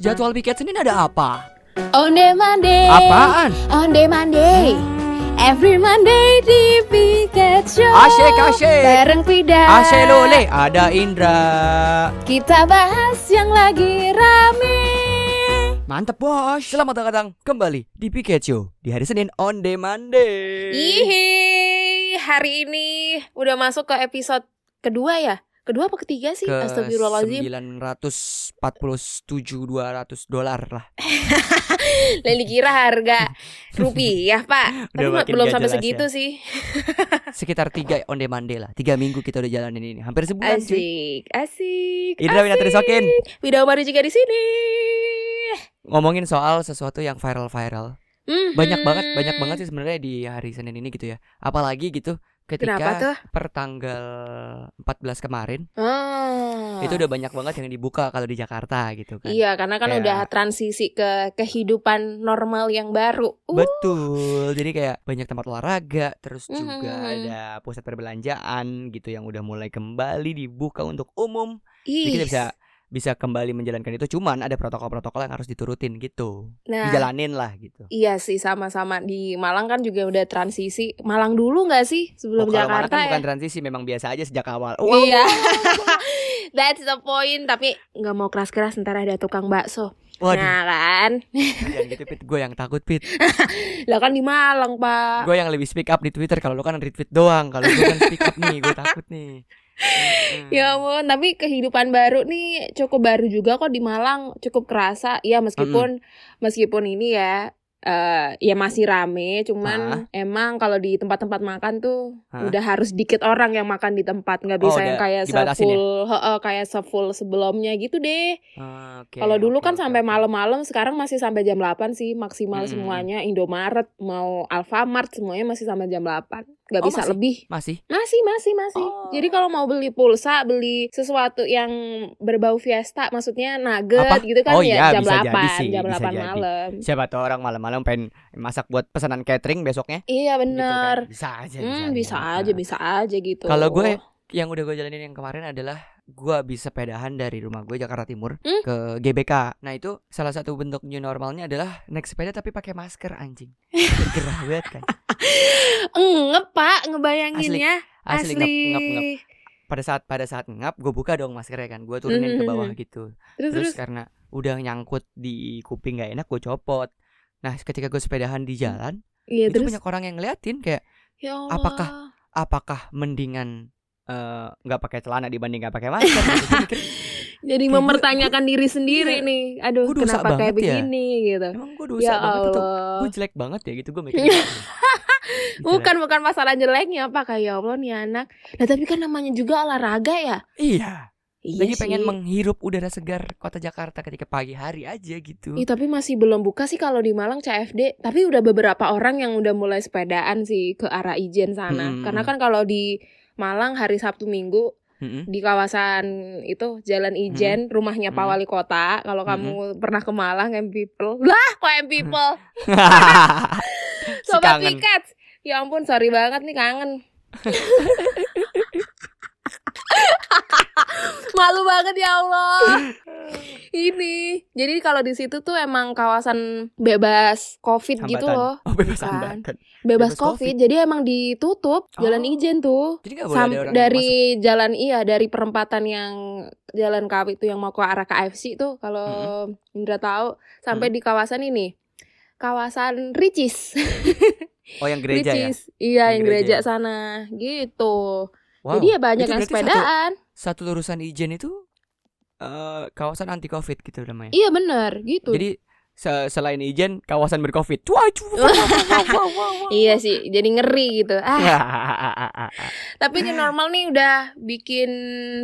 Jadwal piket Senin ada apa? Onde Monday. Apaan? Onde Monday. Hmm. Every Monday di Piket Show. Asyik, asyik. Bareng Pida. Ashe Eh. Lole, ada Indra. Kita bahas yang lagi rame. Mantep bos. Selamat datang kembali di Piket Show di hari Senin on demand. Ihi, hari ini udah masuk ke episode kedua ya? Kedua apa ketiga sih? Ke Astagfirullahaladzim 947 200 dolar lah. Lain dikira harga rupiah pak Tapi Udah makin belum gak sampai jelas ya. segitu sih Sekitar 3 on demand lah. 3 minggu kita udah jalanin ini. Hampir sebulan cuy. Asik, asik Indra Winatri asik. Sokin. Wida Umari juga di sini. Ngomongin soal sesuatu yang viral-viral. Mhm. Banyak banget, banyak banget sih sebenarnya di hari Senin ini gitu ya. Apalagi gitu Kenapa ketika tuh? pertanggal 14 kemarin Ah. itu udah banyak banget yang dibuka kalau di Jakarta gitu kan. Iya, karena kan Kayak- udah transisi ke kehidupan normal yang baru. Uh, Betul. Jadi kayak banyak tempat olahraga, terus juga Mhm. ada pusat perbelanjaan gitu yang udah mulai kembali dibuka untuk umum. Jadi ih. kita bisa bisa kembali menjalankan itu cuman ada protokol-protokol yang harus diturutin gitu. Nah, Dijalanin lah gitu. iya sih sama-sama di Malang kan juga udah transisi. Malang dulu nggak sih Oh, sebelum kalau Malang Jakarta kan ya? bukan transisi, memang biasa aja sejak awal. Wow. Iya. That's the point. Tapi nggak mau keras-keras ntar ada tukang bakso. Waduh, Nah kan, jangan gitu Pit, gue yang takut Pit. lah kan di Malang pak. Gue yang lebih speak up di Twitter kalau lu kan retweet doang, kalau gue kan speak up nih, gue takut nih. Mm-mm. Ya ampun, tapi kehidupan baru nih cukup baru juga kok di Malang, cukup kerasa. Ya meskipun meskipun ini ya eh ya masih rame, cuman emang kalau di tempat-tempat makan tuh Hah? udah harus dikit orang yang makan di tempat, nggak Oh, udah bisa yang kayak dibatasin ya? sefull heeh, kayak sefull sebelumnya gitu deh. Ah, oke, kalau oke, dulu oke, kan sampai oke. malam-malam, sekarang masih sampai jam 8 sih maksimal Mm-mm. semuanya Indomaret mau Alfamart semuanya masih sampai jam 8. Oh, nggak bisa masih? lebih. Masih? Masih, masih, masih. Oh. Jadi kalau mau beli pulsa, beli sesuatu yang berbau fiesta, maksudnya nugget Apa? gitu kan Oh iya, ya jam bisa jadi 8, sih, jam bisa 8 jadi. malam. Iya, Siapa tahu orang malam-malam pengen masak buat pesanan catering besoknya. Iya, Gitu bener. kan. Bisa aja. Hmm, bisa aja, bisa aja gitu. Kalau gue yang udah gue jalanin yang kemarin adalah gue bisa pedahan dari rumah gue Jakarta Timur Hmm? ke GBK. Nah itu salah satu bentuk new normalnya adalah naik sepeda tapi pakai masker anjing. Gerah banget kan. ngep, Pak, ngebayanginnya. Asli, ngap ngap ngap. Pada saat pada saat ngap gue buka dong maskernya kan. Gue turunin ke bawah gitu. Hmm. Terus, Terus, terus. karena udah nyangkut di kuping gak enak gue copot. Nah ketika gue sepedahan di jalan Iya, itu terus. banyak orang yang ngeliatin kayak Ya Allah. apakah apakah mendingan eh, nggak pakai celana dibanding nggak pakai masker? Gitu. Gue mikir, Jadi gue- mempertanyakan diri sendiri iya, nih. Aduh, gue dosa kenapa kayak banget ya. begini gitu. Emang gue dosa Ya banget atau Allah. gue jelek banget ya gitu kan. gue mikir. Bukan bukan masalah jeleknya, Pak. Kayak ya Allah nih anak. Nah, tapi kan namanya juga olahraga ya. Iya. Iya Lagi pengen sih. menghirup udara segar kota Jakarta ketika pagi hari aja gitu. Ih, tapi masih belum buka sih kalau di Malang CFD. Tapi udah beberapa orang yang udah mulai sepedaan sih ke arah Ijen sana. Mm-mm. Karena kan kalau di Malang hari Sabtu Minggu Mm-mm. di kawasan itu Jalan Hmm. Ijen, rumahnya Pak Mm. Wali Kota. Kalau Hmm. kamu pernah ke Malang, M People. Lah, kok M People? Si Sobat kangen. Piket. Ya ampun, sorry banget nih kangen. Malu banget ya Allah. Ini. Jadi kalau di situ tuh emang kawasan bebas Covid gitu Hambatan. loh. Oh, bebas Bukan. hambatan. Bebas, Bebas COVID. Jadi emang ditutup jalan Oh. Ijen tuh. Jadi gak boleh Sam- ada orang yang dari jalan iya dari perempatan yang jalan KW itu yang mau ke arah KFC tuh kalau Indra tahu sampai di kawasan ini. Kawasan Ricis. masuk. Oh yang gereja ya. Ricis. Iya, Yang yang gereja ya? gereja sana gitu. Wow. Jadi ya banyak Itu yang berarti sepedaan. Satu lurusan Ijen itu eh, kawasan anti covid gitu namanya. Iya bener gitu. Jadi se- selain Ijen kawasan bercovid. Wah, cu- wah, wah, wah, wah, wah. Iya sih, jadi ngeri gitu. Ah, Ah. tapi ini normal nih udah bikin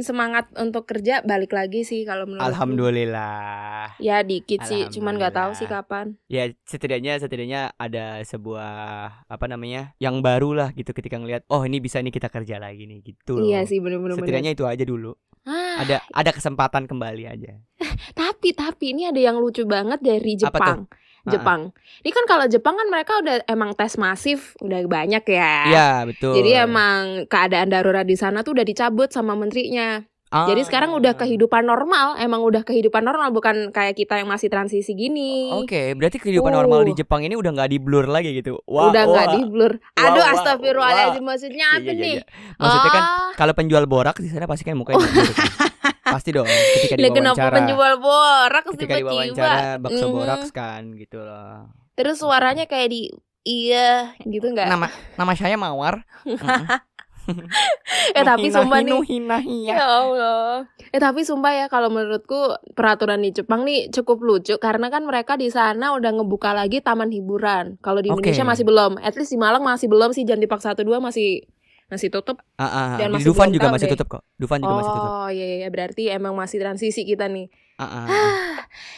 semangat untuk kerja balik lagi sih kalau menurut. Alhamdulillah. Ya dikit sih, cuman nggak tahu sih kapan. ya setidaknya setidaknya ada sebuah apa namanya yang baru lah gitu ketika ngelihat oh ini bisa nih kita kerja lagi nih gitu loh Iya sih bener-bener. setidaknya itu aja dulu Ah, ada ada kesempatan kembali aja tapi tapi ini ada yang lucu banget dari Apa tuh? Jepang. Ah. Jepang. Ini kan kalau Jepang kan mereka udah emang tes masif, udah banyak ya. iya betul Jadi emang keadaan darurat di sana tuh udah dicabut sama menterinya. Ah. Jadi sekarang udah kehidupan normal, emang udah kehidupan normal bukan kayak kita yang masih transisi gini. Oke, berarti kehidupan Uh. normal di Jepang ini udah nggak di blur lagi gitu. Wah, udah nggak wah. di blur. Wah, Aduh wah, astagfirullahaladzim maksudnya Iya, apa iya, iya, nih? iya. Maksudnya kan Ah, kalau penjual borak di sana pasti kan mukanya di blur kan. Pasti dong ketika lah kenapa diwawancara. penjual borak Ketika tiba-tiba. diwawancara bakso Mhm. boraks kan gitu loh. Terus suaranya kayak di iya gitu nggak? Nama nama saya Mawar. Eh tapi sumpah nih. hina hiya. Ya Allah. Eh tapi sumpah ya kalau menurutku peraturan di Jepang nih cukup lucu karena kan mereka di sana udah ngebuka lagi taman hiburan. Kalau di Oke. Indonesia masih belum. At least di Malang masih belum sih Jangan Park 12 masih masih tutup. Ah, ah, ah. Dan Di masih Dufan belum juga tahu masih deh. tutup kok. Dufan juga masih tutup. Oh iya iya berarti emang masih transisi kita nih. Ah, ah.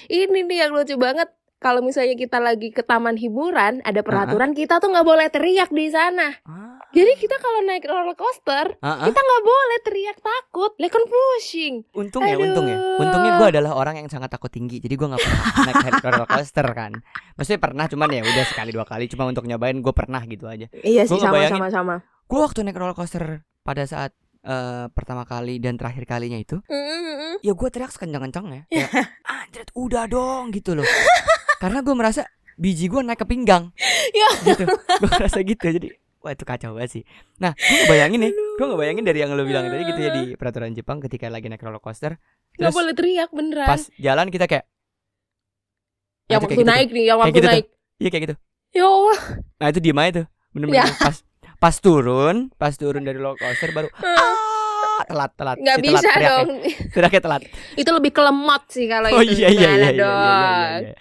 Ini nih yang lucu banget. Kalau misalnya kita lagi ke taman hiburan, ada peraturan kita tuh nggak boleh teriak di sana. Ah. Jadi kita kalau naik roller coaster, Ah, ah. kita nggak boleh teriak takut. Lah kan pushing. Untung ya, untung ya. Untungnya gue adalah orang yang sangat takut tinggi, jadi gue nggak pernah naik head roller coaster kan. Maksudnya pernah, cuman ya udah sekali dua kali, cuma untuk nyobain gue pernah gitu aja. Gua Iya sih sama ngebayangin. sama sama. Gue waktu naik roller coaster pada saat eh, pertama kali dan terakhir kalinya itu, ya gue teriak sekencang-kencang ya. Kayak, Anjret, udah dong gitu loh. Karena gue merasa biji gue naik ke pinggang. Ya gitu. Gue merasa gitu jadi Wah itu kacau banget sih Nah gue ngebayangin nih Gue ngebayangin dari yang lo bilang tadi gitu ya Di peraturan Jepang ketika lagi naik roller coaster Gak Terus boleh teriak beneran. pas jalan kita kayak Nah, yang itu waktu kayak gitu naik nih, yang Kayak waktu gitu tuh. naik. tuh. Iya kayak gitu Ya Allah. Nah itu diem aja tuh Bener-bener pas, pas turun Pas turun dari roller coaster baru ah, Telat telat Nggak Si telat bisa teriaknya. dong. Teriaknya telat itu lebih kelemot sih kalau Oh itu. iya iya Gimana iya, iya, iya, dong? iya, iya.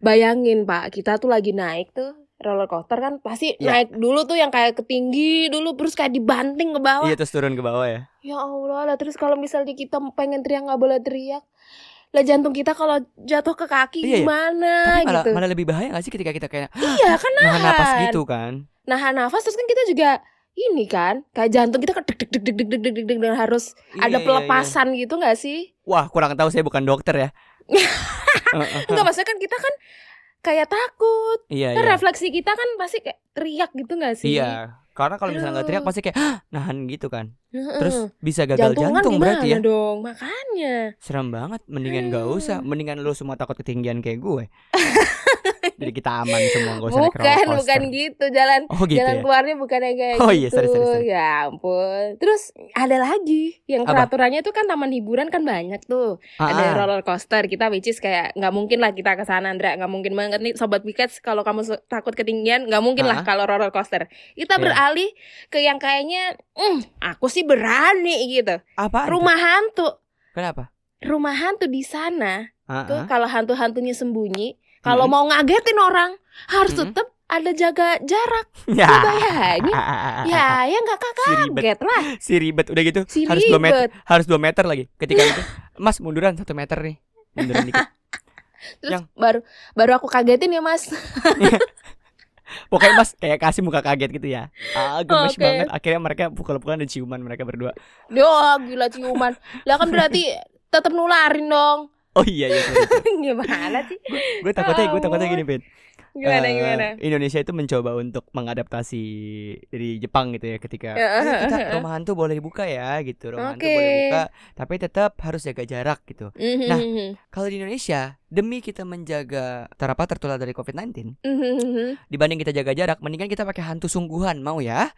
Bayangin Pak, kita tuh lagi naik tuh roller coaster kan pasti Iya. naik dulu tuh yang kayak ketinggi dulu terus kayak dibanting ke bawah. Iya terus turun ke bawah ya Ya Allah lah terus kalau misalnya kita pengen teriak nggak boleh teriak. Lah jantung kita kalau jatuh ke kaki Iya, iya. gimana Tapi malah, gitu. malah lebih bahaya gak sih ketika kita kayak Iya kan Nahan napas nahan. gitu kan nahan nafas terus kan kita juga ini kan kayak jantung kita kedek deg deg deg deg deg deg deg dan harus Iya, ada iya, iya. pelepasan gitu nggak sih? Wah kurang tahu saya bukan dokter ya Heeh, Enggak maksudnya kan kita kan kayak takut. Iya Kan iya refleksi kita kan pasti kayak teriak gitu nggak sih? Iya, karena kalau misalnya nggak teriak Aduh. pasti kayak "Hah," nahan gitu kan. Heeh. Terus bisa gagal jantungan jantung gimana berarti ya. dong? Makanya. Serem banget, mendingan nggak Aduh. usah, mendingan lu semua takut ketinggian kayak gue. Jadi kita aman semua nggak usah naik roller bukan coaster. bukan gitu jalan Oh gitu jalan ya. keluarnya bukan yang kayak Oh iya, gitu. sorry, sorry, sorry. Ya ampun. Terus ada lagi yang Apa? peraturannya tuh kan taman hiburan kan banyak tuh. Ah, ada ah. roller coaster kita which is kayak nggak mungkin lah kita ke sana Andra nggak mungkin banget nih sobat piket kalau kamu se- takut ketinggian nggak mungkin Ah. lah kalau roller coaster kita Iya. beralih ke yang kayaknya "Mm, aku sih berani gitu Apaan tuh? rumah hantu Kenapa? rumah hantu di sana Ah, tuh ah. Hmm. kalau hantu-hantunya sembunyi kalau Mm-mm. mau ngagetin orang harus Mm-mm. tetap ada jaga jarak Hmm. Ya. Lu bayangin Ah, ah, ah, ah. ya ya nggak kakak Si ribet, kaget lah si ribet udah gitu si harus 2 meter, ribet harus 2 meter lagi. Ketika itu, Mas munduran 1 meter nih. Munduran dikit. terus yang- baru baru aku kagetin ya mas Pokoknya Mas kayak kasih muka kaget gitu ya. Ah, gemes Oke. banget. Akhirnya mereka pukul-pukulan dan ciuman mereka berdua. Yo, ah, gila ciuman. Lah kan berarti tetap nularin dong. Oh iya iya. sorry. gimana sih? gue takutnya gue Ya takutnya ampun. gini Pin Gimana Eh, gimana? Indonesia itu mencoba untuk mengadaptasi dari Jepang gitu ya ketika Ya, "Eh, eh, kita eh, eh. rumah hantu boleh dibuka ya gitu rumah hantu Oke. boleh dibuka tapi tetap harus jaga jarak gitu Mhm. nah. kalau di Indonesia demi kita menjaga terapat tertular dari COVID-19 Mhm. dibanding kita jaga jarak mendingan kita pakai hantu sungguhan mau ya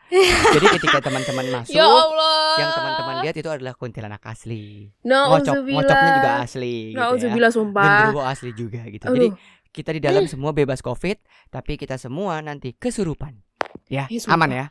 jadi ketika teman-teman masuk Iya. ya Allah. yang teman-teman lihat itu adalah kuntilanak asli No, ngocok ngocoknya juga asli No, gitu ya sumpah. genderuwo asli juga gitu jadi Aduh. kita di dalam semua bebas covid tapi kita semua nanti kesurupan ya Ih, sumpah. aman ya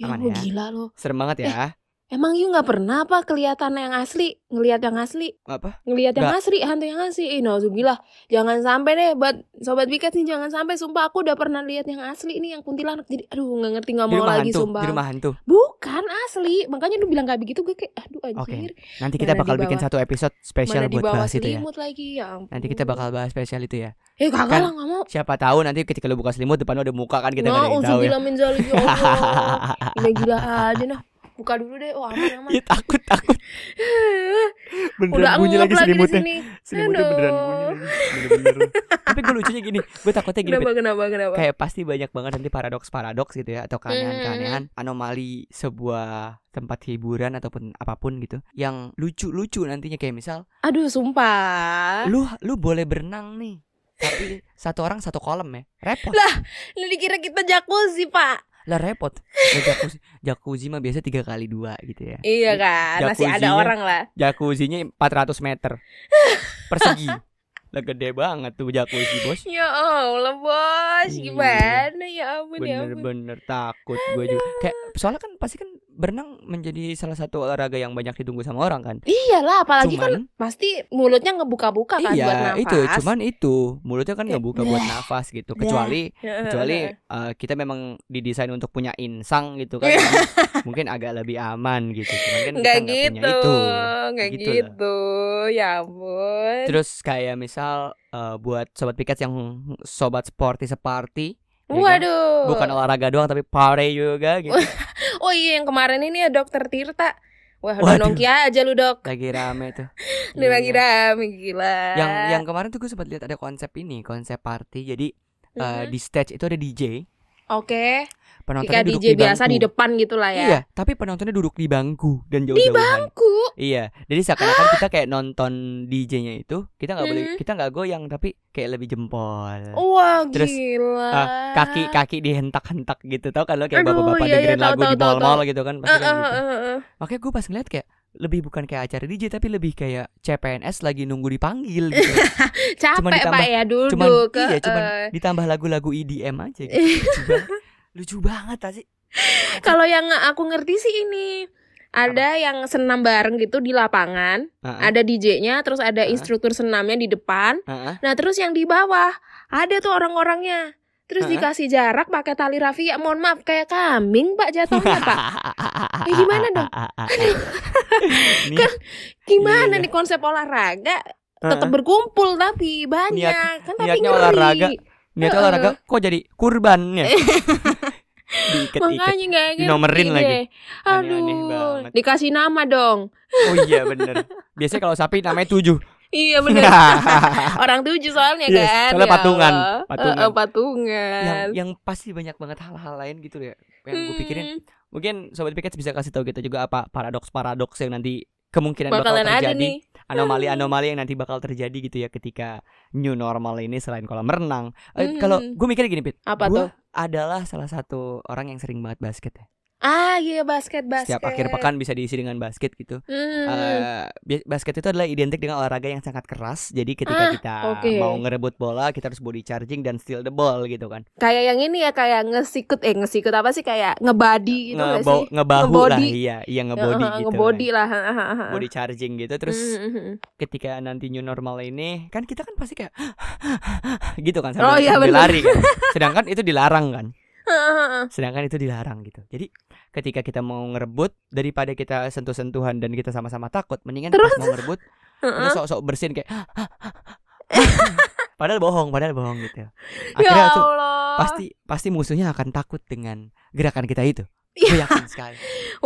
Ya, aman lu ya. gila lo. serem banget ya Emang you nggak pernah apa kelihatan yang asli, ngelihat yang asli, apa ngelihat yang asli, hantu yang asli. Ih, nauzubillah. Jangan sampai deh buat sobat piket nih jangan sampai sumpah aku udah pernah lihat yang asli ini yang kuntilanak. Jadi aduh nggak ngerti nggak di mau rumah lagi hantu sumpah. di rumah hantu Bukan asli. Makanya lu bilang kayak begitu gue kayak aduh anjir. nanti kita Mana bakal di bikin bawah- satu episode spesial Mana di buat bawah bahas itu ya selimut lagi ya. ampun. nanti kita bakal bahas spesial itu ya Eh kagak Kan- lah nggak mau. siapa tahu nanti ketika lu buka selimut depan lu ada muka kan kita nggak ada Nah, yang tahu ya uzubillah min zalik, ya Allah. Gila gila aja nah. Buka dulu deh. Oh, aman aman. Ih, Ya, takut takut beneran Udah bunyi lagi ngap lagi di selimutnya sini. selimutnya beneran bunyi Aduh. lagi bener-bener tapi gue lucunya gini gue takutnya gini kenapa kenapa kenapa kayak pasti banyak banget nanti paradoks-paradoks gitu ya atau keanehan-keanehan Hmm. anomali sebuah tempat hiburan ataupun apapun gitu yang lucu-lucu nantinya kayak misal aduh sumpah lu lu boleh berenang nih tapi satu orang satu kolam ya repot Lah. lu dikira kita jacuzzi pak lah repot Lah, jacuzzi jacuzzi mah biasa tiga kali dua gitu ya iya kan masih ada Jacuzzinya. orang lah jacuzzinya 400 meter persegi lah gede banget tuh jacuzzi bos ya allah bos Iya. gimana ya ampun ya ampun bener-bener takut gue juga kayak soalnya kan pasti kan berenang menjadi salah satu olahraga yang banyak ditunggu sama orang kan iyalah apalagi kan cuman pasti mulutnya ngebuka-buka kan buat iya nafas Iya. itu cuman itu mulutnya kan nggak buka buat Dah. nafas gitu Dah. kecuali Heeh, kecuali heeh. eh, kita memang didesain untuk punya insang gitu kan mungkin agak lebih aman gitu cuman kan Iya. nggak kita nggak gitu punya itu nggak Gitu gitu, lah. ya ampun terus kayak misal eh, buat sobat piket yang sobat sporty separty ya kan? waduh bukan olahraga doang tapi party juga gitu oh iya yang kemarin ini ya dokter Tirta Wah, udah Waduh. nongki aja lu dok lagi rame tuh Ini lagi Iya. rame gila yang yang kemarin tuh gue sempat lihat ada konsep ini konsep party jadi eh, Mhm. di stage itu ada DJ Oke, penontonnya jika duduk DJ di bangku biasa di depan gitu lah ya. iya tapi penontonnya duduk di bangku dan jauh-jauhan Aku Iya, jadi seakan-akan kita kayak nonton DJ-nya itu kita nggak boleh Mhm. kita nggak goyang tapi kayak lebih jempol. Wah Nah, Terus, gila. eh, Kaki-kaki dihentak-hentak gitu tau kan lo kayak Aduh, bapak-bapak iya, iya, dengerin tahu, lagu tahu, di tahu, mall-mall gitu kan Eh, pasti kan eh, gitu. eh, eh. Makanya gue pas ngeliat kayak lebih bukan kayak acara DJ tapi lebih kayak CPNS lagi nunggu dipanggil gitu. Capek ditambah- pak ya duduk. cuman eh, iya, cuman eh. ditambah lagu-lagu EDM aja gitu. Lucu banget. Lucu banget tadi. Kalau yang aku ngerti sih ini ada yang senam bareng gitu di lapangan, Heeh. ada DJ-nya, terus ada Ah. instruktur senamnya di depan. heeh. Nah terus yang di bawah ada tuh orang-orangnya. Terus Ah. dikasih jarak pakai tali rafia. Mohon maaf kayak kambing pak jatuhnya pak. Eh, gimana Iya, dong? Nih, Gimana Iya. nih konsep olahraga? Tetap heeh. berkumpul tapi banyak Niat- kan tapi niatnya ngeri. olahraga, Niatnya Heeh. olahraga kok jadi kurban ya? Diikat-ikat. Makanya nggak ngerti Dinomerin deh. lagi. Aduh, Aneh-aneh banget. dikasih nama dong. Oh iya bener Biasanya kalau sapi namanya tujuh Iya bener. Orang tujuh soalnya Yes, kan. Iya, soalnya ya patungan, Allah. patungan. Eh, eh, patungan. yang, yang pasti banyak banget hal-hal lain gitu ya Yang gue pikirin Hmm, Mungkin Sobat Piket bisa kasih tahu kita juga apa Paradoks-paradoks yang nanti Kemungkinan bakal bakalan ada terjadi nih. Anomali-anomali yang nanti bakal terjadi gitu ya Ketika new normal ini selain kolam renang Eh, Hmm. Kalau gue mikirnya gini Pit Apa Gua tuh? adalah salah satu orang yang sering banget basket ya Ah iya basket basket. Setiap akhir pekan bisa diisi dengan basket gitu Hmm, Eh, bi- basket itu adalah identik dengan olahraga yang sangat keras. Jadi ketika Ah, kita oke. mau ngerebut bola, kita harus body charging dan steal the ball gitu kan. kayak yang ini ya kayak ngesikut eh ngesikut apa sih kayak ngebadi gitu nggak Ngebo- sih? ngebahu lah, Ngebody. iya, iya ngebody Eh, eh, gitu. Ngebody kan. lah. Body charging gitu. Terus Hmm, hmm, hmm. ketika nanti new normal ini, kan kita kan pasti kayak gitu kan Oh, iya, sambil bener. lari kan. Sedangkan itu dilarang kan. Heeh. Sedangkan itu dilarang gitu. Jadi ketika kita mau ngerebut daripada kita sentuh-sentuhan dan kita sama-sama takut, mendingan pas mau ngerebut kita sok-sok bersin kayak padahal bohong, padahal bohong gitu. ya Akhirnya tuh Allah. pasti pasti musuhnya akan takut dengan gerakan kita itu. Iya. Gue yakin sekali.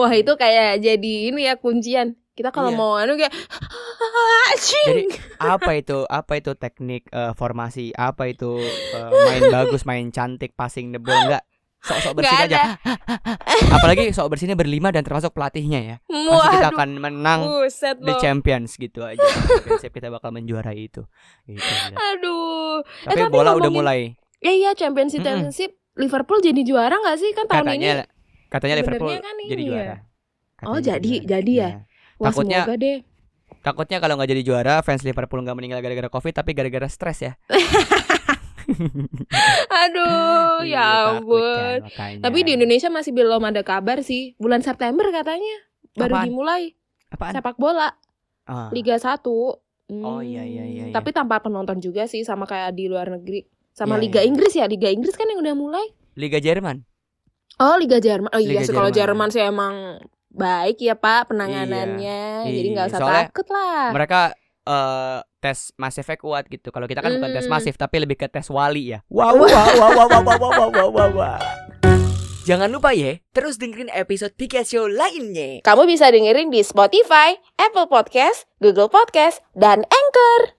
Wah itu kayak jadi ini ya kuncian. Kita kalau Iya. mau anu kayak Jadi anjing. apa itu? Apa itu teknik eh, formasi? Apa itu eh, main bagus, main cantik, passing the ball enggak? Sok-sok bersin Nggak aja. Apalagi sok bersinnya berlima dan termasuk pelatihnya ya. Pasti kita Waduh, akan menang buset di loh. Champions gitu aja. Championship kita bakal menjuarai itu. Gitu, gila. Aduh. Tapi, Eh, tapi bola udah ngomongin- mulai. Ya iya Championship Mm-mm. Championship Liverpool jadi juara nggak sih kan tahun Katanya ini? katanya Liverpool Sebenarnya kan ini jadi ya. juara. Oh, Katanya jadi- juara. jadi ya? Iya. Wah, Takutnya- semoga deh. Takutnya kalau nggak jadi juara fans Liverpool nggak meninggal gara-gara covid tapi gara-gara stres ya. Iya, Aduh, ya takut kan, ampun. makanya. Tapi di Indonesia masih belum ada kabar sih. Bulan September katanya baru Apaan? dimulai apaan? sepak bola Ah, Liga 1. Oh, iya, iya, iya, Hmm, iya. Tapi tanpa penonton juga sih sama kayak di luar negeri. Sama Iya, Liga iya. Inggris ya, Liga Inggris kan yang udah mulai. Liga Jerman. Oh, Liga Jerman. Oh iya Liga sih kalau Jerman. Jerman sih emang baik ya, Pak, Iya, penanganannya. Jadi nggak iya. usah Soalnya takut lah. Mereka eh, tes masifnya kuat gitu. Kalau kita kan bukan tes Hmm. masif tapi lebih ke tes wali ya. Wow wow wow wow wow wow wow wow wow. wow. Jangan lupa ya, terus dengerin episode Pikachu lainnya. Kamu bisa dengerin di Spotify, Apple Podcast, Google Podcast, dan Anchor.